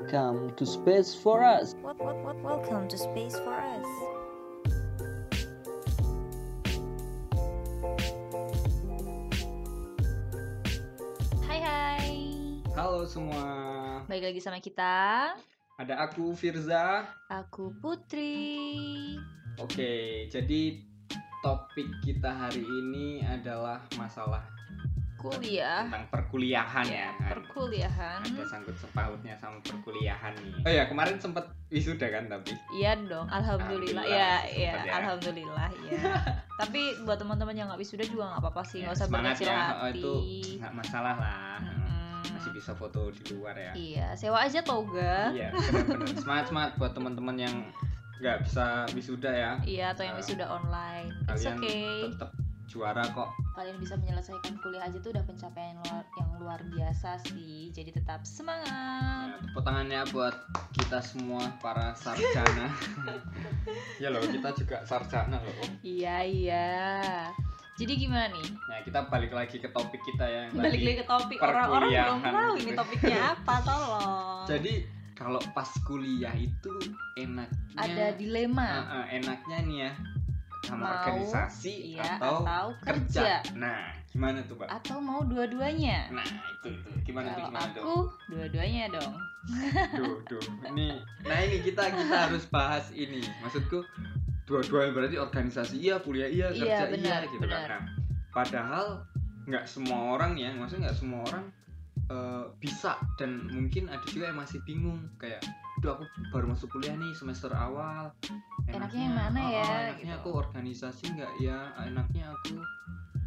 Welcome to Space for Us. What, what, what, welcome to Space for Us. Hai hai, Halo semua. balik lagi sama kita. Ada aku Firza. Aku Putri. Oke, jadi topik kita hari ini adalah masalah Kuliah. tentang perkuliahan ya. Ya, kan? perkuliahan. Ada sangkut sepautnya sama perkuliahan nih. Oh ya, kemarin sempat wisuda kan tapi. Iya dong, alhamdulillah. Alhamdulillah, Ya, masih ya, sempet ya. alhamdulillah ya. Tapi buat teman-teman yang nggak wisuda juga nggak apa-apa sih, Ya, nggak usah semangat berkecil ya. Oh, hati. itu nggak masalah lah. Mm-mm. Masih bisa foto di luar ya. Iya, sewa aja toga. Iya, benar-benar. Semangat semangat buat teman-teman yang nggak bisa wisuda ya. Iya, atau yang Nah, sudah online. It's Kalian okay. tetap juara kok. Kalian bisa menyelesaikan kuliah aja tuh udah pencapaian luar, yang luar biasa sih. Jadi tetap semangat. Ya, tepuk tangannya buat kita semua para sarjana. ya loh, kita juga sarjana loh. Iya, iya. Jadi gimana nih? Nah, kita balik lagi ke topik kita ya. yang Balik tadi. lagi ke topik orang-orang belum perkuliahan. tahu ini topiknya apa, tolong. Jadi kalau pas kuliah itu enaknya ada dilema Ah, ah, enaknya nih ya sama Mau, organisasi iya, atau, atau kerja. Nah, gimana tuh, Pak? atau mau dua-duanya. Nah, itu itu. Gimana tuh Kalau gimana tuh? aku dua-duanya dong. Duh, duh. Ini, nah ini kita kita harus bahas ini. Maksudku dua-duanya berarti organisasi iya, kuliah iya, kerja Iya, benar, iya gitu benar. kan. Nah, padahal nggak semua orang ya, maksudnya nggak semua orang eh, bisa dan mungkin ada juga yang masih bingung kayak Duh aku baru masuk kuliah nih semester awal Enaknya yang mana oh, oh, ya?" Enaknya gitu. aku organisasi nggak ya Enaknya aku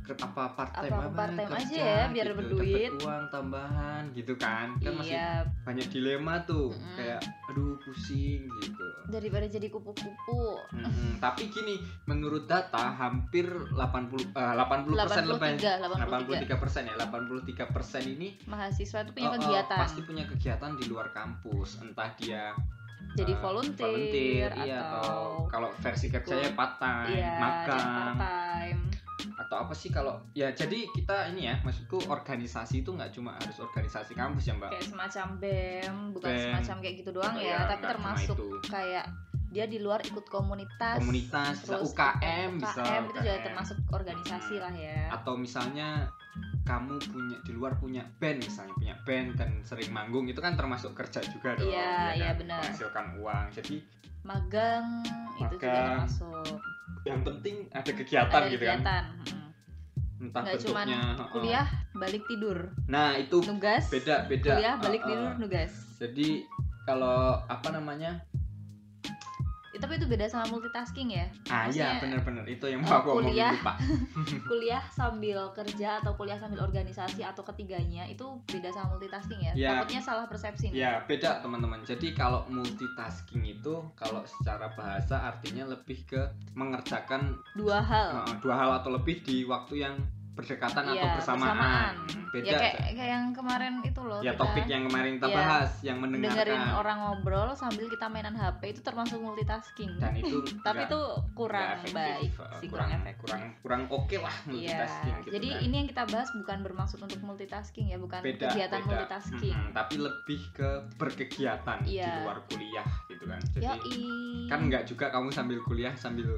ke, apa part time Apa aku part time aja ya, biar berduit. uang tambahan gitu kan kan masih iya, banyak dilema tuh Mm-mm. kayak aduh pusing gitu daripada jadi kupu-kupu. Mm-mm. tapi gini menurut data hampir 80 eh, 80 persen lebih 83, 83. 83 persen ya 83 persen ini Mahasiswa itu punya oh, oh, kegiatan. pasti punya kegiatan di luar kampus entah dia jadi eh, volunteer, volunteer, atau, iya, atau kalau versi kerjanya part time iya, jadi magang part time. Ah. atau apa sih kalau ya jadi kita ini ya maksudku organisasi itu nggak cuma harus organisasi kampus ya mbak Kayak semacam BEM, bukan BEM. semacam kayak gitu doang ya, Iya, tapi nggak cuma termasuk itu. kayak dia di luar ikut komunitas. komunitas bisa terus eh, UKM, bisa UKM, itu juga ya, UKM. termasuk organisasi Hmm. lah ya. atau misalnya kamu punya di luar punya band misalnya punya band dan sering manggung itu kan termasuk kerja juga dong Iya, iya, kan? benar. menghasilkan uang jadi Magang itu juga Magang. termasuk yang penting ada kegiatan ada gitu kan kegiatan. Hmm. entah Nggak cuman bentuknya heeh. Kuliah balik tidur, nah itu nugas. beda beda Ah, Kuliah balik Heeh. tidur nugas. jadi kalau apa namanya Eh, Tapi itu beda sama multitasking ya. Maksudnya, Oh, ah iya benar-benar itu yang mau aku kuliah. omongin lupa kuliah sambil kerja atau kuliah sambil organisasi atau ketiganya itu beda sama multitasking ya. Ya. Takutnya salah persepsi nih. Ya beda teman-teman. Jadi kalau multitasking itu kalau secara bahasa artinya lebih ke mengerjakan Dua hal. uh, dua hal atau lebih di waktu yang Iya, berdekatan Kan atau bersamaan. ya Beda. kayak, kayak yang kemarin itu loh. Ya, kita topik yang kemarin kita Iya. bahas yang dengerin mendengarkan orang ngobrol sambil kita mainan HP itu termasuk multitasking. dan itu Tapi nggak- itu nggak kurang efektif, baik uh, sih, kurang kurang, efektif. kurang kurang oke lah Iya. multitasking gitu Jadi kan. ini yang kita bahas bukan bermaksud untuk multitasking ya, bukan beda kegiatan beda. multitasking. Mm-mm, tapi lebih ke berkegiatan di Iya. luar kuliah gitu kan. Jadi Yoi. kan nggak juga kamu sambil kuliah sambil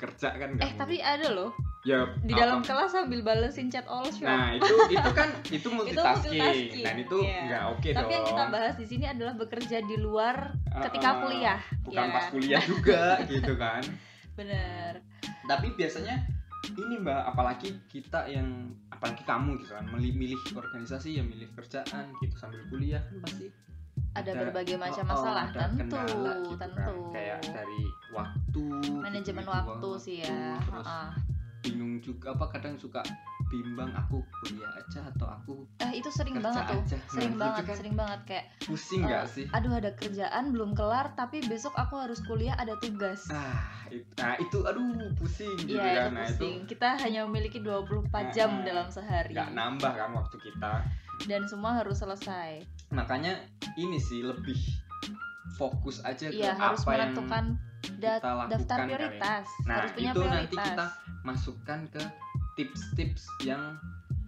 kerja kan nggak Eh mungkin. tapi ada loh ya di apa- dalam kelas sambil balesin chat all shop. nah itu itu kan itu multitasking, multitasking, dan itu iya. nggak oke dong Tapi yang kita bahas di sini adalah bekerja di luar ketika Uh-uh. kuliah. bukan ya pas kan? kuliah juga gitu kan Bener. tapi biasanya ini mbak apalagi kita yang apalagi kamu gitu kan milih, milih organisasi ya milih kerjaan gitu sambil kuliah kan pasti Ada Ada- berbagai macam oh, oh, masalah, ada tentu, kendala gitu kan. tentu. kayak dari waktu Manajemen gitu-gitu, waktu sih ya. terus Heeh. bingung juga apa kadang suka bimbang aku kuliah aja atau aku Eh itu sering kerja banget tuh. aja. Sering Nah, gitu banget, kan. sering banget kayak pusing nggak Eh, sih aduh ada kerjaan belum kelar tapi besok aku harus kuliah ada tugas. ah itu, nah itu aduh pusing gitu Iya, kan nah itu itu pusing. Kita hanya memiliki 24 jam Nah, dalam sehari nggak nambah kan waktu kita dan semua harus selesai. makanya ini sih lebih fokus aja ke Iya, harus Ya, apa yang menentukan da- kita lakukan daftar kali ya. prioritas, Nah, harus punya itu nanti prioritas. kita masukkan ke tips-tips yang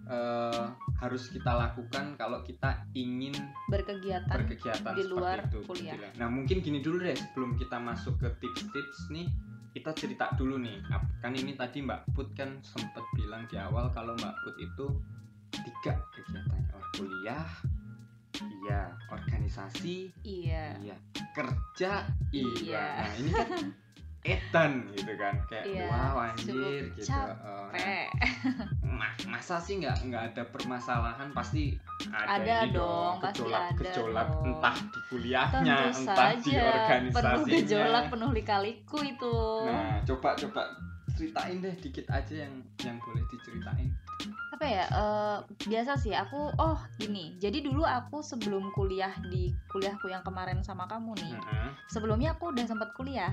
eh, harus kita lakukan kalau kita ingin berkegiatan berkegiatan Kan di seperti luar itu, kuliah. Fadila. Nah mungkin gini dulu deh sebelum kita masuk ke tips-tips nih kita cerita dulu nih Ap- kan ini tadi Mbak Put kan sempat bilang di awal kalau Mbak Put itu tiga kegiatan Oh, kuliah iya organisasi iya iya kerja iya, Iya. nah ini kan edan gitu kan kayak Iya, wow anjir cukup gitu capek. Eh, nah, Pe. Ma- masa sih nggak nggak ada permasalahan pasti ada, Ada ini dong, pasti gejolak ada gejolak dong. entah di kuliahnya tentu entah di saja penuh organisasinya gejolak penuh lika-liku itu nah coba coba ceritain deh dikit aja yang yang boleh diceritain apa ya eh, biasa sih aku oh gini jadi dulu aku sebelum kuliah di kuliahku yang kemarin sama kamu nih Heeh. sebelumnya aku udah sempat kuliah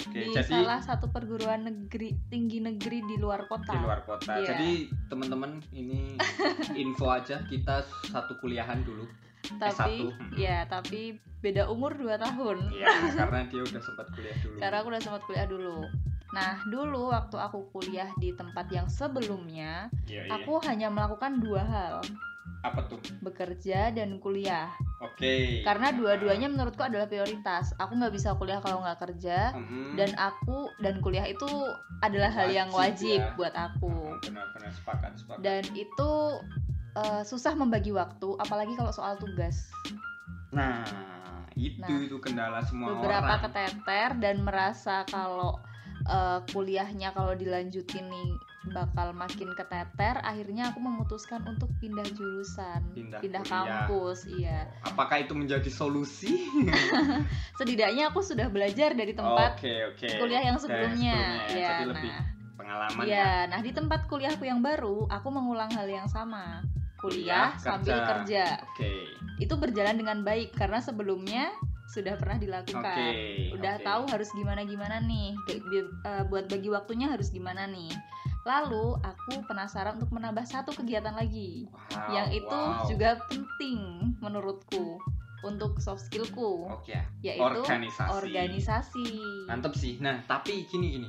Hmm. di oke jadi salah satu perguruan negeri tinggi negeri di luar kota di luar kota Iya. jadi teman-teman ini info aja kita satu kuliahan dulu tapi S1. ya tapi beda umur 2 tahun ya Iya. karena dia udah sempat kuliah dulu karena aku udah sempat kuliah dulu nah dulu waktu aku kuliah di tempat yang sebelumnya Iya, iya. aku hanya melakukan dua hal apa tuh bekerja dan kuliah oke karena dua-duanya menurutku adalah prioritas aku nggak bisa kuliah kalau nggak kerja Mhm. dan aku dan kuliah itu adalah hal yang Wajib wajib ya. buat aku Mhm, benar-benar sepakat sepakat dan itu eh, susah membagi waktu apalagi kalau soal tugas Nah, itu Nah, itu kendala semua beberapa orang. keteter dan merasa kalau eh, kuliahnya kalau dilanjutin nih bakal makin keteter akhirnya aku memutuskan untuk pindah jurusan Pindah kuliah. kampus iya Apakah itu menjadi solusi? setidaknya aku sudah belajar dari tempat Oke, oke. kuliah yang Oke, sebelumnya, sebelumnya. ya Jadi lebih nah pengalaman ya nah di tempat kuliahku yang baru aku mengulang hal yang sama kuliah Kuliah, sambil kerja. kerja Oke. itu berjalan dengan baik karena sebelumnya sudah pernah dilakukan Oke. udah oke. tahu harus gimana gimana nih Ge- bi- eh, buat bagi waktunya harus gimana nih lalu aku penasaran untuk menambah satu kegiatan lagi Wow, yang itu Ah, wow. juga penting menurutku untuk soft skillku Oke, ya. yaitu organisasi. organisasi. Mantep sih. Nah, tapi gini gini.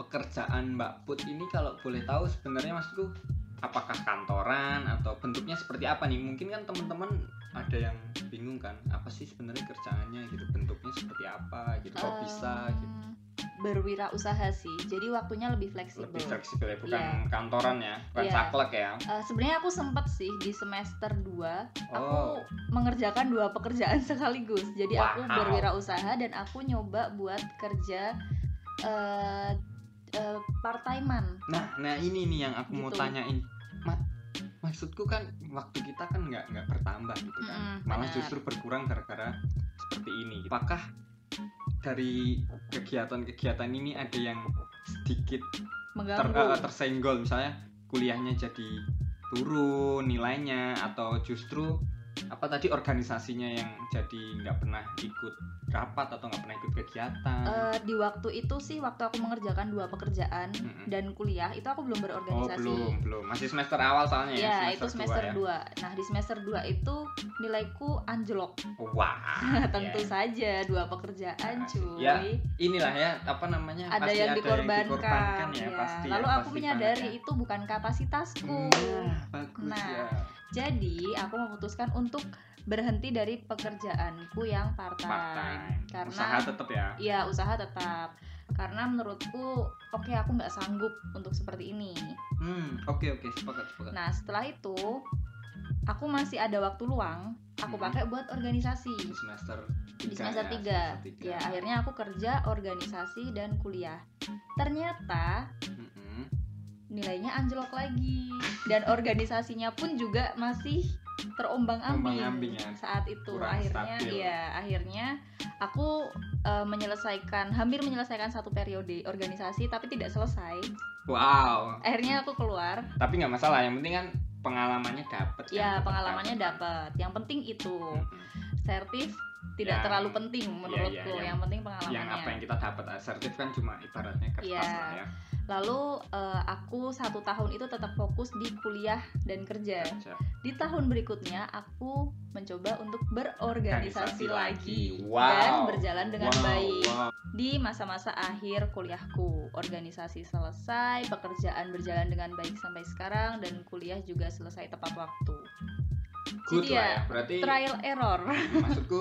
Pekerjaan Mbak Put ini kalau boleh tahu sebenarnya maksudku apakah kantoran atau bentuknya seperti apa nih? Mungkin kan teman-teman ada yang bingung kan, apa sih sebenarnya kerjaannya gitu, bentuknya seperti apa gitu, Ah. kok bisa gitu. Em, berwirausaha sih jadi waktunya lebih fleksibel Lebih fleksibel ya, bukan Iya. kantoran ya, bukan Iya. saklek ya. Eh, sebenarnya aku sempet sih di semester 2 aku Oh, mengerjakan dua pekerjaan sekaligus jadi aku Wow. berwirausaha dan aku nyoba buat kerja eh eh, part-timean nah, nah ini nih yang aku mau Gitu. tanyain. Ma- maksudku kan waktu kita kan nggak nggak bertambah gitu kan. Mm-mm, malah benar. justru berkurang gara-gara seperti ini. gitu. Apakah dari kegiatan-kegiatan ini ada yang sedikit ter- eh, mengganggu tersenggol misalnya kuliahnya jadi turun nilainya atau justru apa tadi organisasinya yang jadi nggak pernah ikut rapat atau nggak pernah ikut kegiatan? Eh, di waktu itu sih waktu aku mengerjakan dua pekerjaan Mm-mm. dan kuliah itu aku belum Hmm. oh berorganisasi belum belum masih semester awal soalnya ya, Ya, itu dua semester ya. 2. Nah, di semester 2 itu nilaiku anjlok. Wah. Tentu ya. saja dua pekerjaan, Asik. cuy. Ya, Inilah ya apa namanya Ada pasti yang ada dikorbankan. yang dikorbankan ya, ya. pasti. ya, Lalu aku pasti menyadari banget ya. itu bukan kapasitasku. Nah, bagus Nah, ya. Jadi, aku memutuskan untuk berhenti dari pekerjaanku yang part-time. Part-time. Karena Usaha tetap ya. ya usaha tetap. Karena menurutku, oke aku nggak sanggup untuk seperti ini. Hmm, oke oke, sepakat sepakat. Nah, setelah itu aku masih ada waktu luang, aku Mhm. pakai buat organisasi. Di semester 3. di semester 3 Ya, ya, akhirnya aku kerja organisasi dan kuliah ternyata Mm-mm. nilainya anjlok lagi dan organisasinya pun juga masih terombang Terombang-ambing ambing ya, saat itu kurang akhirnya stabil. ya akhirnya aku eh, menyelesaikan hampir menyelesaikan satu periode organisasi tapi tidak selesai Wow, akhirnya aku keluar tapi nggak masalah. Yang penting kan pengalamannya kan, dapat. Hmm, ya pengalamannya dapat yang penting itu Mm-mm. sertif tidak Yang- terlalu penting menurutku iya, yang- yang penting pengalamannya yang apa yang kita dapat asertif kan cuma ibaratnya kertas Iya. lah ya lalu eh, aku satu tahun itu tetap fokus di kuliah dan kerja kerja. di tahun berikutnya aku mencoba untuk berorganisasi Organisasi lagi lagi. dan Wow. berjalan dengan Wow, baik wow. di masa-masa akhir kuliahku organisasi selesai pekerjaan berjalan dengan baik sampai sekarang dan kuliah juga selesai tepat waktu good Jadi lah ya, ya berarti trial error maksudku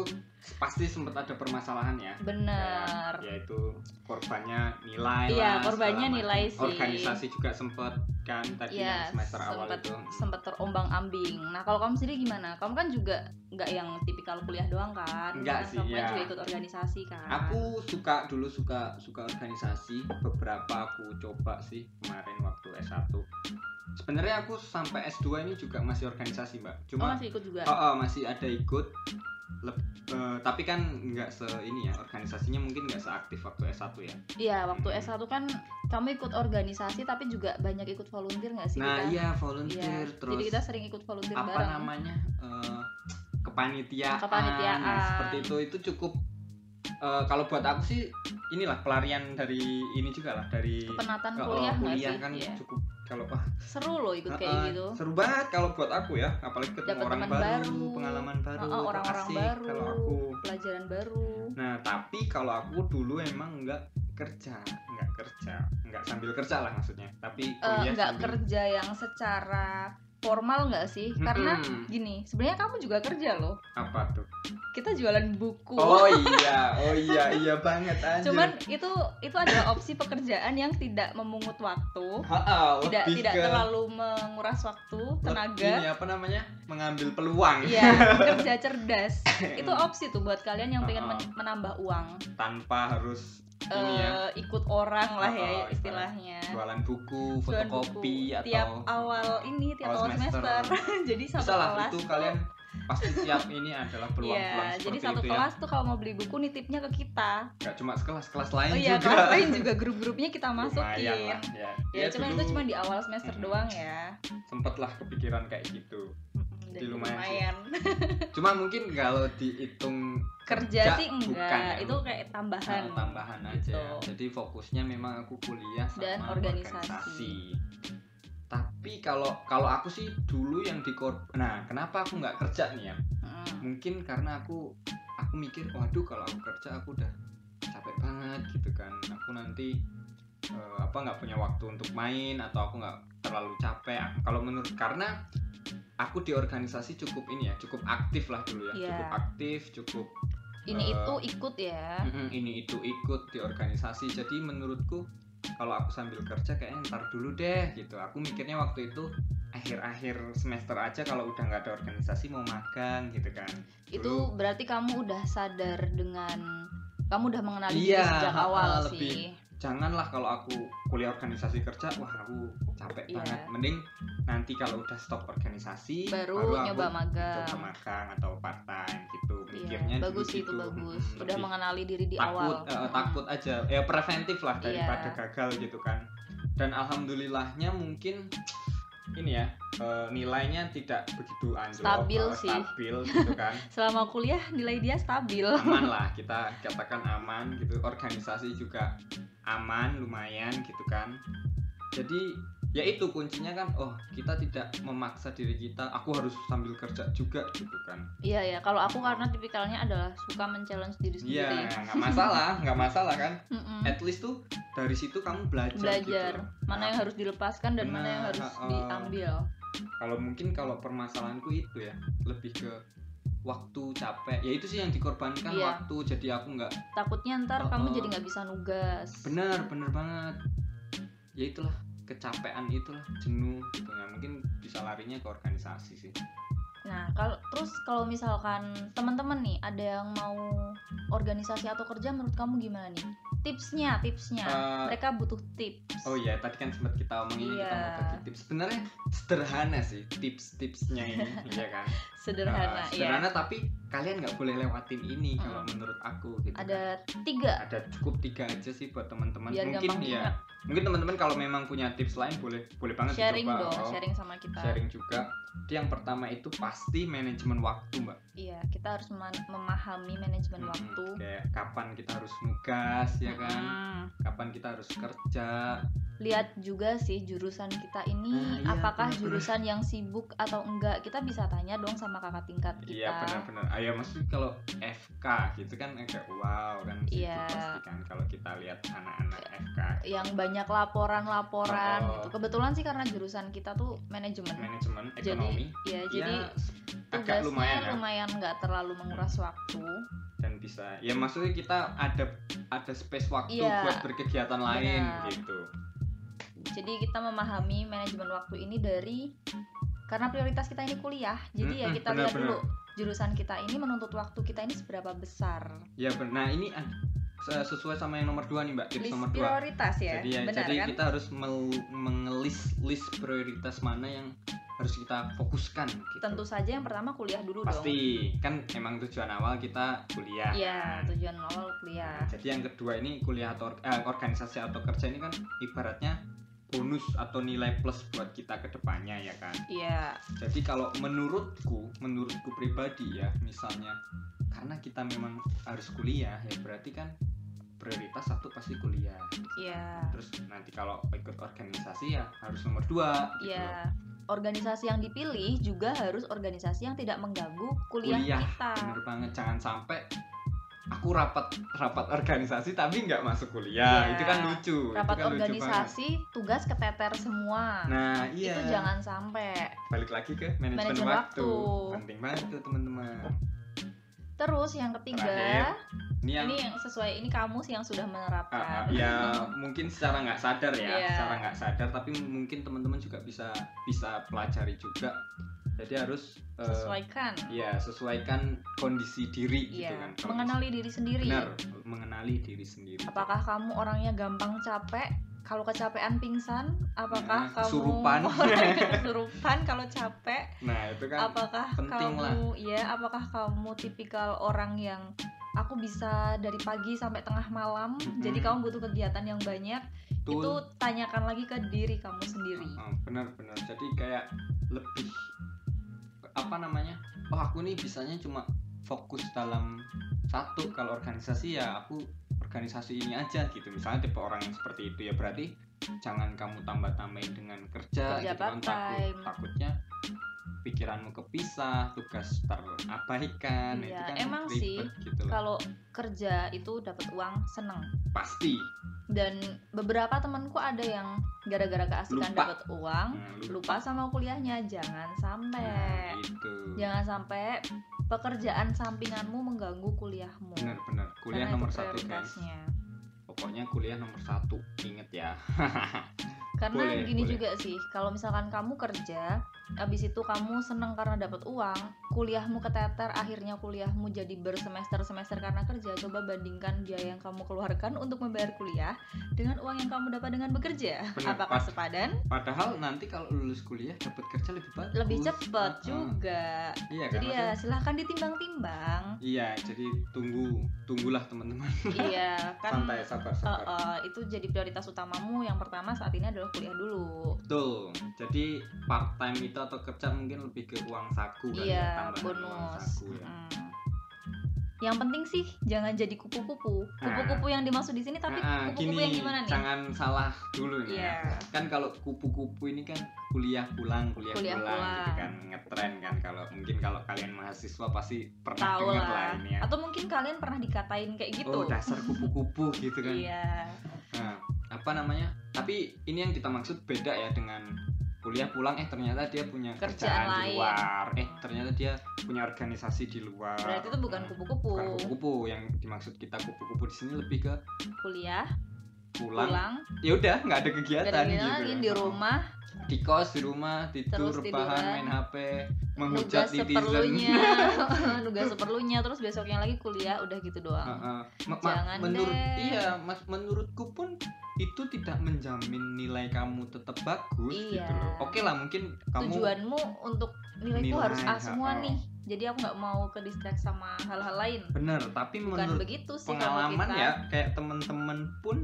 pasti sempat ada permasalahan ya bener Kayak, yaitu korbannya nilai Iya, lah, korbannya segala nilai macam. sih. organisasi juga sempat kan tadi yang Iya, semester awal sempet- itu sempat terombang ambing. Nah kalau kamu sendiri gimana? Kamu kan juga nggak yang tipikal kuliah doang kan? Nggak Kan sih, Kamu kan ya. juga ikut organisasi kan? Aku suka dulu suka suka organisasi. Beberapa aku coba sih kemarin waktu S1. Sebenarnya aku sampai S2 ini juga masih organisasi, Mbak. Oh, Cuma masih ikut juga. oh, oh, masih ada ikut. Leb- eh, tapi kan nggak se ini ya organisasinya mungkin nggak seaktif waktu S1 ya. Iya waktu Hmm. S1 kan kamu ikut organisasi tapi juga banyak ikut volunteer nggak sih kita? Nah, iya volunteer kan terus Jadi kita sering ikut volunteer apa bareng. namanya? eh, kepanitiaan. Kepanitiaan. Nah, seperti itu itu cukup eh, kalau buat aku sih inilah pelarian dari ini juga lah dari Penatan Kalau kuliah nggak sih? kan Iya. cukup kalau wah Seru loh ikut kayak heeh, gitu. seru banget kalau buat aku ya apalagi ketemu Dapet orang teman baru, baru, pengalaman baru Heeh, orang-orang asik baru, kalau aku pelajaran baru. nah tapi kalau aku dulu emang nggak kerja nggak kerja nggak sambil kerja lah maksudnya tapi Eh, kuliah nggak sambil- kerja yang secara formal nggak sih? Karena Mm-mm. gini, sebenarnya kamu juga kerja loh. apa tuh Kita jualan buku. oh iya oh iya iya banget anjir Cuman itu itu adalah opsi pekerjaan yang tidak memungut waktu, Heeh, tidak lebih tidak ke- terlalu menguras waktu, tenaga. ini apa namanya mengambil peluang Iya, kerja cerdas. itu opsi tuh buat kalian yang pengen Ah. men- menambah uang. tanpa harus ini ya Eh, ikut orang lah ya Ah, ah, istilahnya. jualan buku Jualan fotokopi buku. atau tiap awal ini tiap awal semester. jadi satu Bisa lah, kelas itu tuh- kalian pasti siap ini adalah peluang-peluang Iya, seperti jadi satu itu kelas tuh kalau mau beli buku nitipnya ke kita. ya. Gak cuma sekelas, kelas lain oh iya, juga. kelas lain juga grup-grupnya kita Lumayan masukin. lah, ya. Ya, cuman itu cuma dulu di awal semester Mm-mm. doang ya. sempet lah kepikiran kayak gitu. Mm-mm, Jadi dan lumayan sih. Cuma mungkin kalau dihitung Kerja sih enggak, bukan, ya, itu kayak tambahan. Nah, tambahan gitu. aja. Jadi fokusnya memang aku kuliah sama Dan organisasi. organisasi. Tapi kalau kalau aku sih dulu yang di kor- Nah, kenapa aku nggak kerja nih ya? Mm. mungkin karena aku aku mikir waduh kalau aku kerja aku udah capek banget gitu kan aku nanti eh, apa nggak punya waktu untuk main atau aku nggak terlalu capek kalau menurut karena aku di organisasi cukup ini ya cukup aktif lah dulu ya Iya. cukup aktif cukup Ini Eh, itu ikut ya. mm, ini itu ikut di organisasi jadi menurutku kalau aku sambil kerja kayaknya ntar dulu deh gitu aku mikirnya waktu itu akhir-akhir semester aja kalau udah nggak ada organisasi mau magang gitu kan Itu berarti kamu udah sadar dengan kamu udah mengenali Iya, diri sejak ha-ha, awal lebih. sih. janganlah kalau aku kuliah organisasi kerja wah aku capek Iya. banget mending nanti kalau udah stop organisasi Baru aku nyoba magang. coba magang atau part time gitu Iya, mikirnya dulu bagus sih itu gitu. bagus. Mm, Udah lebih mengenali diri di takut awal. eh, Mm. takut aja ya preventif lah Iya. daripada gagal gitu kan dan alhamdulillahnya mungkin ini ya eh, nilainya tidak begitu anjlok Stabil eh, sih. stabil gitu kan Selama kuliah nilai dia stabil. aman lah kita katakan aman gitu organisasi juga aman lumayan gitu kan jadi ya itu kuncinya kan oh kita tidak memaksa diri kita aku harus sambil kerja juga gitu kan Iya ya, kalau aku karena tipikalnya adalah suka men-challenge diri iya sendiri. nggak masalah nggak masalah kan Mm-mm. at least tuh dari situ kamu belajar Belajar gitu. mana yang harus dilepaskan dan mana yang Benar, harus ha-ha. diambil. kalau mungkin kalau permasalahanku itu ya lebih ke waktu capek ya itu sih yang dikorbankan Iya. waktu jadi aku nggak Takutnya ntar kamu Ha-ha. jadi nggak bisa nugas. bener bener banget ya itulah kecapean itulah jenuh gitu ya mungkin bisa larinya ke organisasi sih Nah, kalau terus kalau misalkan teman-teman nih ada yang mau organisasi atau kerja menurut kamu gimana nih? Tipsnya, tipsnya. Eh, Mereka butuh tips. oh iya tadi kan sempat kita omongin kita Iya. mau bagi tips sebenarnya sederhana sih tips-tipsnya ini iya kan Sederhana, Eh, ya. sederhana tapi kalian nggak boleh lewatin Mm. ini kalau menurut aku gitu kan. ada tiga ada cukup tiga aja sih buat teman-teman Biar mungkin gampang ya mungkin teman-teman kalau memang punya tips lain boleh boleh banget sharing dicoba dong atau sharing sama kita sharing juga Jadi yang pertama itu pasti manajemen waktu mbak iya kita harus mema- memahami manajemen Mm-mm. waktu Hmm. kayak kapan kita harus nugas ya kan Mm-mm. kapan kita harus kerja lihat juga sih jurusan kita ini Nah, iya, apakah bener-bener. jurusan yang sibuk atau enggak kita bisa tanya dong sama kakak tingkat kita iya benar-benar ayo maksudnya kalau FK gitu kan agak wow kan sibuk Iya. pasti kan kalau kita lihat anak-anak FK yang banyak laporan-laporan Oh. gitu kebetulan sih karena jurusan kita tuh manajemen manajemen Jadi- ekonomi ya ya jadi agak tugasnya lumayan Hmm. lumayan kan nggak terlalu menguras waktu dan bisa ya maksudnya kita ada ada space waktu Iya. buat berkegiatan lain Benar. gitu jadi kita memahami manajemen waktu ini dari karena prioritas kita ini kuliah jadi ya Mm-mm, kita benar, lihat dulu jurusan kita ini menuntut waktu kita ini seberapa besar ya benar nah ini ah, se- sesuai sama yang nomor dua nih mbak tips list nomor dua prioritas ya jadi ya, benar jadi kan kita harus mel- mengelis list prioritas mana yang harus kita fokuskan gitu. tentu saja yang pertama kuliah dulu dong pasti kan emang tujuan awal kita kuliah Iya, ya. kan? tujuan awal kuliah. Jadi yang kedua ini kuliah atau eh, organisasi atau kerja ini kan ibaratnya bonus atau nilai plus buat kita ke depannya ya kan. Iya, Jadi kalau menurutku, menurutku pribadi ya, misalnya karena kita memang harus kuliah ya berarti kan prioritas satu pasti kuliah. iya, Terus nanti kalau ikut organisasi ya harus nomor dua. Gitu iya. loh. Organisasi yang dipilih juga harus organisasi yang tidak mengganggu kuliah, Kuliah, kan kita. Bener banget jangan sampai aku rapat rapat organisasi tapi nggak masuk kuliah Iya. itu kan lucu. itu Rapat kan lucu banget. organisasi, tugas keteter semua. Nah iya. Itu jangan sampai. Balik lagi ke manajemen, Manajemen waktu. waktu. Penting banget tuh teman-teman. Terus yang ketiga, Terakhir, Ini yang ini yang sesuai ini kamu sih yang sudah Ah, ah, menerapkan. ya mungkin secara nggak sadar ya, Nah, Iya. secara nggak sadar tapi mungkin teman-teman juga bisa bisa pelajari juga. Jadi harus eh, Sesuaikan. ya sesuaikan kondisi diri gitu kan. Iya, Kalau mengenali diri mis- sendiri. benar mengenali diri sendiri. Apakah kamu orangnya gampang capek? Kalau kecapean pingsan, apakah Nah, kamu kesurupan. kesurupan kalau capek? Nah, itu kan apakah penting kamu ya apakah kamu tipikal orang yang aku bisa dari pagi sampai tengah malam Mm-mm. jadi kamu butuh kegiatan yang banyak tuh itu tanyakan lagi ke diri kamu sendiri Hmm. Ah, benar-benar. Jadi kayak lebih apa namanya? Oh, aku nih bisanya cuma fokus dalam satu kalau organisasi ya aku organisasi ini aja gitu. Misalnya tipe orang yang seperti itu ya berarti jangan kamu tambah-tambahin dengan kerja, Kerja gitu kan. takut part-time. takutnya pikiranmu kepisah, tugas terabaikan. Iya, itu kan emang ribet gitu loh. kalau kerja itu dapat uang seneng Pasti dan beberapa temanku ada yang gara-gara keasikan Lupa. dapat uang Nah, lu- Hmm, lupa ya. sama kuliahnya jangan sampai Nah, gitu. jangan sampai pekerjaan sampinganmu mengganggu kuliahmu Benar-benar Karena kuliah itu nomor satu guys. prioritasnya. Pokoknya kuliah nomor satu, inget ya. karena Boleh, gini boleh. juga sih kalau misalkan kamu kerja abis itu kamu seneng karena dapat uang kuliahmu keteter akhirnya kuliahmu jadi bersemester semester karena kerja coba bandingkan biaya yang kamu keluarkan untuk membayar kuliah dengan uang yang kamu dapat dengan bekerja Benar, apakah pas. sepadan Padahal nanti kalau lulus kuliah dapat kerja lebih bagus. lebih cepat Heeh. juga Iya kan? jadi ya maksudnya- silahkan ditimbang-timbang Iya, jadi tunggu, tunggulah teman-teman. iya kan Santai, sabar, sabar. eh, eh, itu jadi prioritas utamamu yang pertama saat ini adalah kuliah dulu Betul. Jadi part time itu atau kerja mungkin lebih ke uang saku kan ya, Iya, tambahan uang bonus. saku ya. Mm. Yang penting sih jangan jadi kupu-kupu. Kupu-kupu yang dimaksud di sini tapi Ah, kupu-kupu yang gimana nih? Nah. Jangan salah dulu nih. Iya. ya. Kan kalau kupu-kupu ini kan kuliah pulang, kuliah, Kuliah pulang, gitu pulang. kan ngetren kan kalau mungkin kalau kalian mahasiswa pasti pernah Tahu dengar lah. lah ini ya. Atau mungkin kalian pernah dikatain kayak gitu. Oh, dasar kupu-kupu gitu kan. Iya. Nah, apa namanya? Tapi ini yang kita maksud beda ya dengan kuliah pulang eh ternyata dia punya Kerjaan kerjaan, di lain. luar. Eh ternyata dia punya organisasi di luar. Berarti itu bukan Nah, kupu-kupu. bukan kupu-kupu. Yang dimaksud kita kupu-kupu di sini lebih ke Kuliah pulang, pulang ya udah nggak ada dan kegiatan gitu lagi di rumah di kos di rumah tidur Terus rebahan tiduran. main hp menghujat nugas seperlunya netizen nugas seperlunya terus besoknya lagi kuliah udah gitu doang Heeh. Ma- ma- Jangan menurut deh. iya mas menurutku pun itu tidak menjamin nilai kamu tetap bagus gitu Iya. loh oke lah mungkin kamu tujuanmu untuk nilaiku Nilai, harus A semua ha-ha. nih jadi aku nggak mau ke distract sama hal-hal lain bener tapi bukan menurut begitu sih kalau pengalaman kita ya kayak temen-temen pun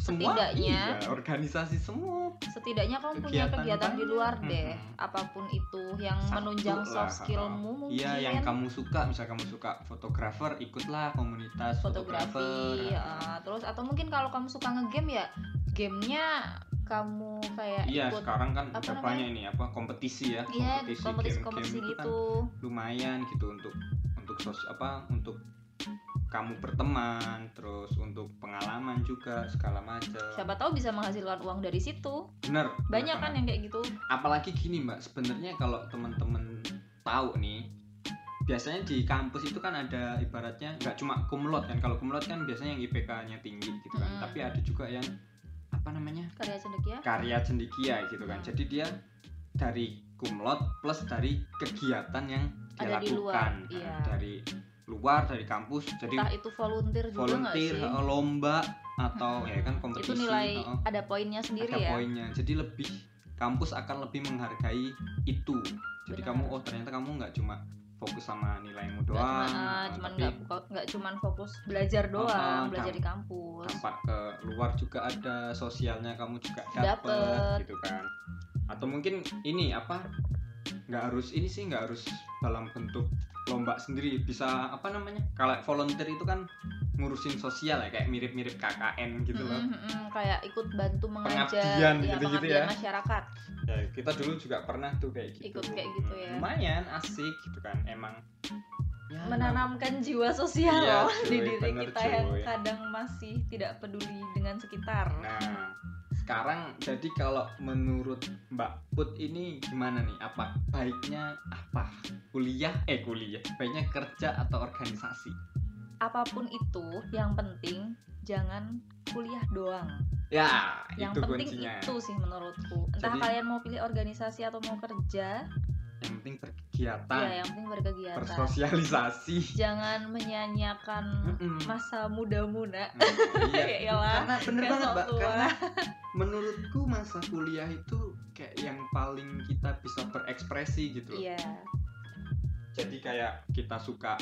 semua Setidaknya- iya, organisasi semua setidaknya kamu punya Kegiatan kegiatan di banyak. luar deh Mm-mm. apapun itu yang Satu menunjang lah, soft ha-ha. skillmu mungkin iya yang kamu suka misal kamu suka fotografer ikutlah komunitas fotografer fotografi ya. terus atau mungkin kalau kamu suka ngegame ya gamenya kamu kayak iya ikut ya, sekarang kan apa udah namanya? banyak ini apa kompetisi ya Iya, kompetisi kompetisi-kompetisi game-game itu kan gitu. lumayan gitu untuk untuk sos apa untuk kamu berteman terus untuk pengalaman juga segala macam Siapa tahu bisa menghasilkan uang dari situ. bener Banyak bener kan banget. yang kayak gitu. apalagi gini mbak sebenarnya kalau teman-teman tahu nih biasanya di kampus itu kan ada ibaratnya nggak cuma kumlot kan kalau kumlot kan biasanya yang IPK-nya tinggi gitu kan Mm. tapi ada juga yang apa namanya Karya cendekia. karya cendikia gitu kan. Hmm. Jadi dia dari kumlot plus dari kegiatan yang Ada dia di lakukan luar, kan. iya. dari luar dari kampus. Jadi Entah itu volunteer juga nggak volunteer, sih? eh, lomba atau ya kan kompetisi Itu nilai eh, ada poinnya sendiri ada ya. poinnya. Jadi lebih kampus akan lebih menghargai itu. Jadi Benar. kamu oh ternyata kamu nggak cuma fokus sama nilaimu Nggak doang, cuma ah, eh, cuman tapi nggak buka- nggak cuman fokus belajar doang, Ah, belajar damp- di kampus. tampak ke luar juga ada sosialnya kamu juga Dapet. dapet gitu kan atau mungkin ini apa nggak harus ini sih nggak harus dalam bentuk lomba sendiri bisa apa namanya kalau volunteer itu kan ngurusin sosial ya kayak mirip-mirip KKN gitu loh Mm-mm, mm-mm, kayak ikut bantu mengajar Pengabdian ya, gitu-gitu pengabdian ya. masyarakat. Ya, kita dulu juga pernah tuh kayak gitu Ikut kayak gitu ya. lumayan asik gitu kan emang ya, Menanamkan jiwa sosial Iya, loh di cuy, diri bener, kita yang cuy. kadang masih tidak peduli dengan sekitar. Nah, sekarang jadi kalau menurut Mbak Put ini gimana nih? Apa baiknya apa? Kuliah eh kuliah, baiknya kerja atau organisasi? Apapun itu, yang penting jangan kuliah doang. Ya, yang itu penting kuncinya. itu sih menurutku entah Jadi- kalian mau pilih organisasi atau mau kerja Yang penting berkegiatan, ya yang penting berkegiatan bersosialisasi. jangan menyanyiakan Mm-mm. masa mudamu nak Nah, iya. Ya iya. iyalah, karena bener kayak banget sok mbak tua. karena menurutku masa kuliah itu kayak yang paling kita bisa berekspresi gitu loh iya jadi kayak kita suka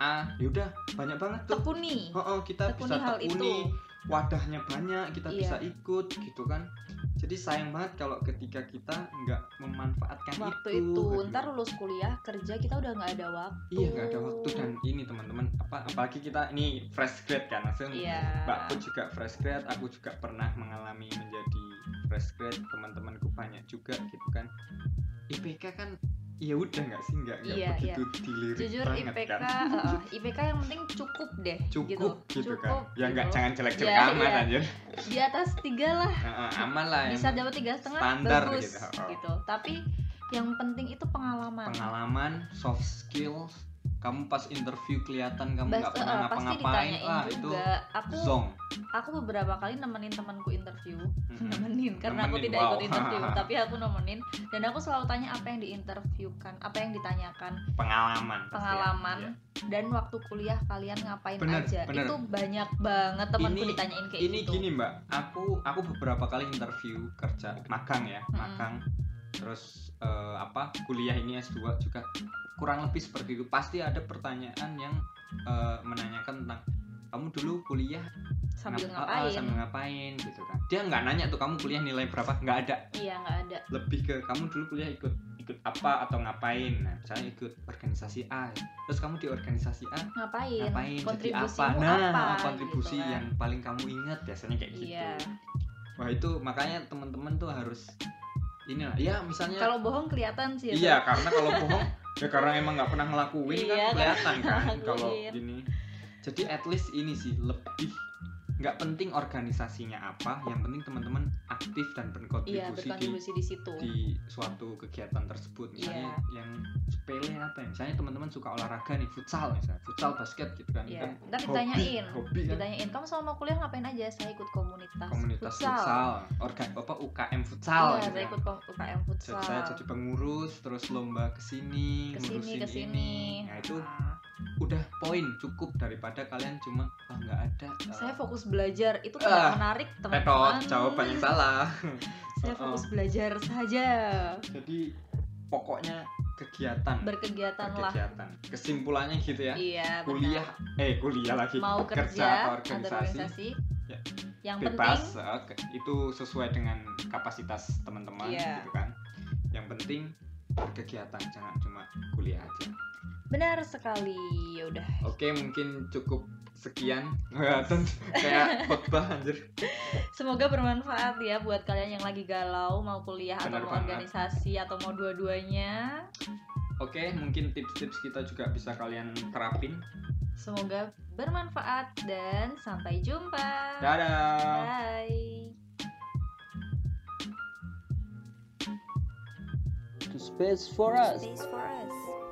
A yaudah banyak banget tuh tekuni Oh, oh, kita tekuni bisa hal itu tekuni wadahnya banyak kita Iya. bisa ikut gitu kan jadi sayang banget kalau ketika kita nggak memanfaatkan waktu itu, itu gitu. ntar lulus kuliah kerja kita udah nggak ada waktu iya nggak ada waktu dan ini teman-teman apa apalagi kita ini fresh grade kan langsung iya mbak Put juga fresh grade aku juga pernah mengalami menjadi fresh grade teman-temanku banyak juga gitu kan IPK kan ya udah nggak sih nggak nggak Iya, begitu dilirik jujur banget IPK kan eh, IPK yang penting cukup deh cukup gitu, gitu, kan ya nggak gitu. jangan jelek-jelek Iya, amat iya. anjir di atas tiga lah Heeh, aman lah yang bisa dapat tiga setengah Iya, standar bagus gitu, oh. gitu tapi yang penting itu pengalaman pengalaman soft skills kamu pas interview kelihatan kamu Bas- nggak eh, pernah pasti ngapa-ngapain ditanyain lah itu juga aku zong aku beberapa kali nemenin temanku interview Mm-mm. nemenin karena aku Hmm. tidak Nemenin, wow. ikut interview tapi aku nemenin dan aku selalu tanya apa yang diinterviewkan apa yang ditanyakan pengalaman pasti ya. pengalaman Iya. dan waktu kuliah kalian ngapain Bener, aja bener. itu banyak banget temanku Ini- ditanyain kayak ini gitu gini mbak aku aku beberapa kali interview kerja magang ya Mm-mm. magang terus eh, apa kuliah ini S2 juga kurang lebih seperti itu pasti ada pertanyaan yang eh, menanyakan tentang kamu dulu kuliah sambil ngap- ah, ah, ngapain sambil ngapain gitu kan dia nggak nanya tuh kamu kuliah nilai berapa nggak ada iya nggak ada lebih ke kamu dulu kuliah ikut ikut apa atau ngapain nah misalnya ikut organisasi A ya. terus kamu di organisasi A ngapain, ngapain jadi apa kontribusimu nah Iya, apa kontribusi gitu kan. yang paling kamu ingat biasanya kayak gitu iya wah itu makanya teman-teman tuh harus ini lah ya misalnya kalau bohong kelihatan sih ya, itu. iya karena kalau bohong ya karena emang nggak pernah ngelakuin Iya, kan kelihatan nggak kan kalau ngelakuin. gini jadi at least ini sih lebih nggak penting organisasinya apa yang penting teman-teman aktif Iya, dan berkontribusi di berkontribusi di situ. di suatu kegiatan tersebut misalnya Iya. yang sepele apa ya misalnya teman-teman suka olahraga nih futsal misalnya futsal basket gitu kan Iya. kan Ntar hobi- ditanyain, hobi kan ditanyain kamu selama kuliah ngapain aja? Saya ikut komunitas, komunitas futsal, orga apa UKM futsal Iya, gitu saya kan. ikut kom- UKM Jadi futsal. saya jadi pengurus terus lomba kesini kesini ngurusin kesini. ini nah itu Ah. udah poin cukup daripada kalian cuma ah nggak ada eh, saya fokus belajar itu Ah, tidak menarik petot teman-teman. jawabannya salah Saya Oh, oh. fokus belajar saja. jadi pokoknya kegiatan Berkegiatan lah. kegiatan kesimpulannya gitu ya Iya, benar. kuliah eh kuliah lagi mau kerja, atau atau organisasi, organisasi. Ya. Yang bebas penting eh, ke- itu sesuai dengan kapasitas teman-teman Iya. gitu kan yang penting berkegiatan jangan cuma kuliah aja benar sekali. Ya udah. oke mungkin cukup sekian Kelihatan kayak khotbah anjir Semoga bermanfaat ya buat kalian yang lagi galau mau kuliah atau Benar mau banget. organisasi atau mau dua-duanya. oke mungkin tips-tips kita juga bisa kalian terapin Semoga bermanfaat dan sampai jumpa. dadah Bye. to space for us. Space for us.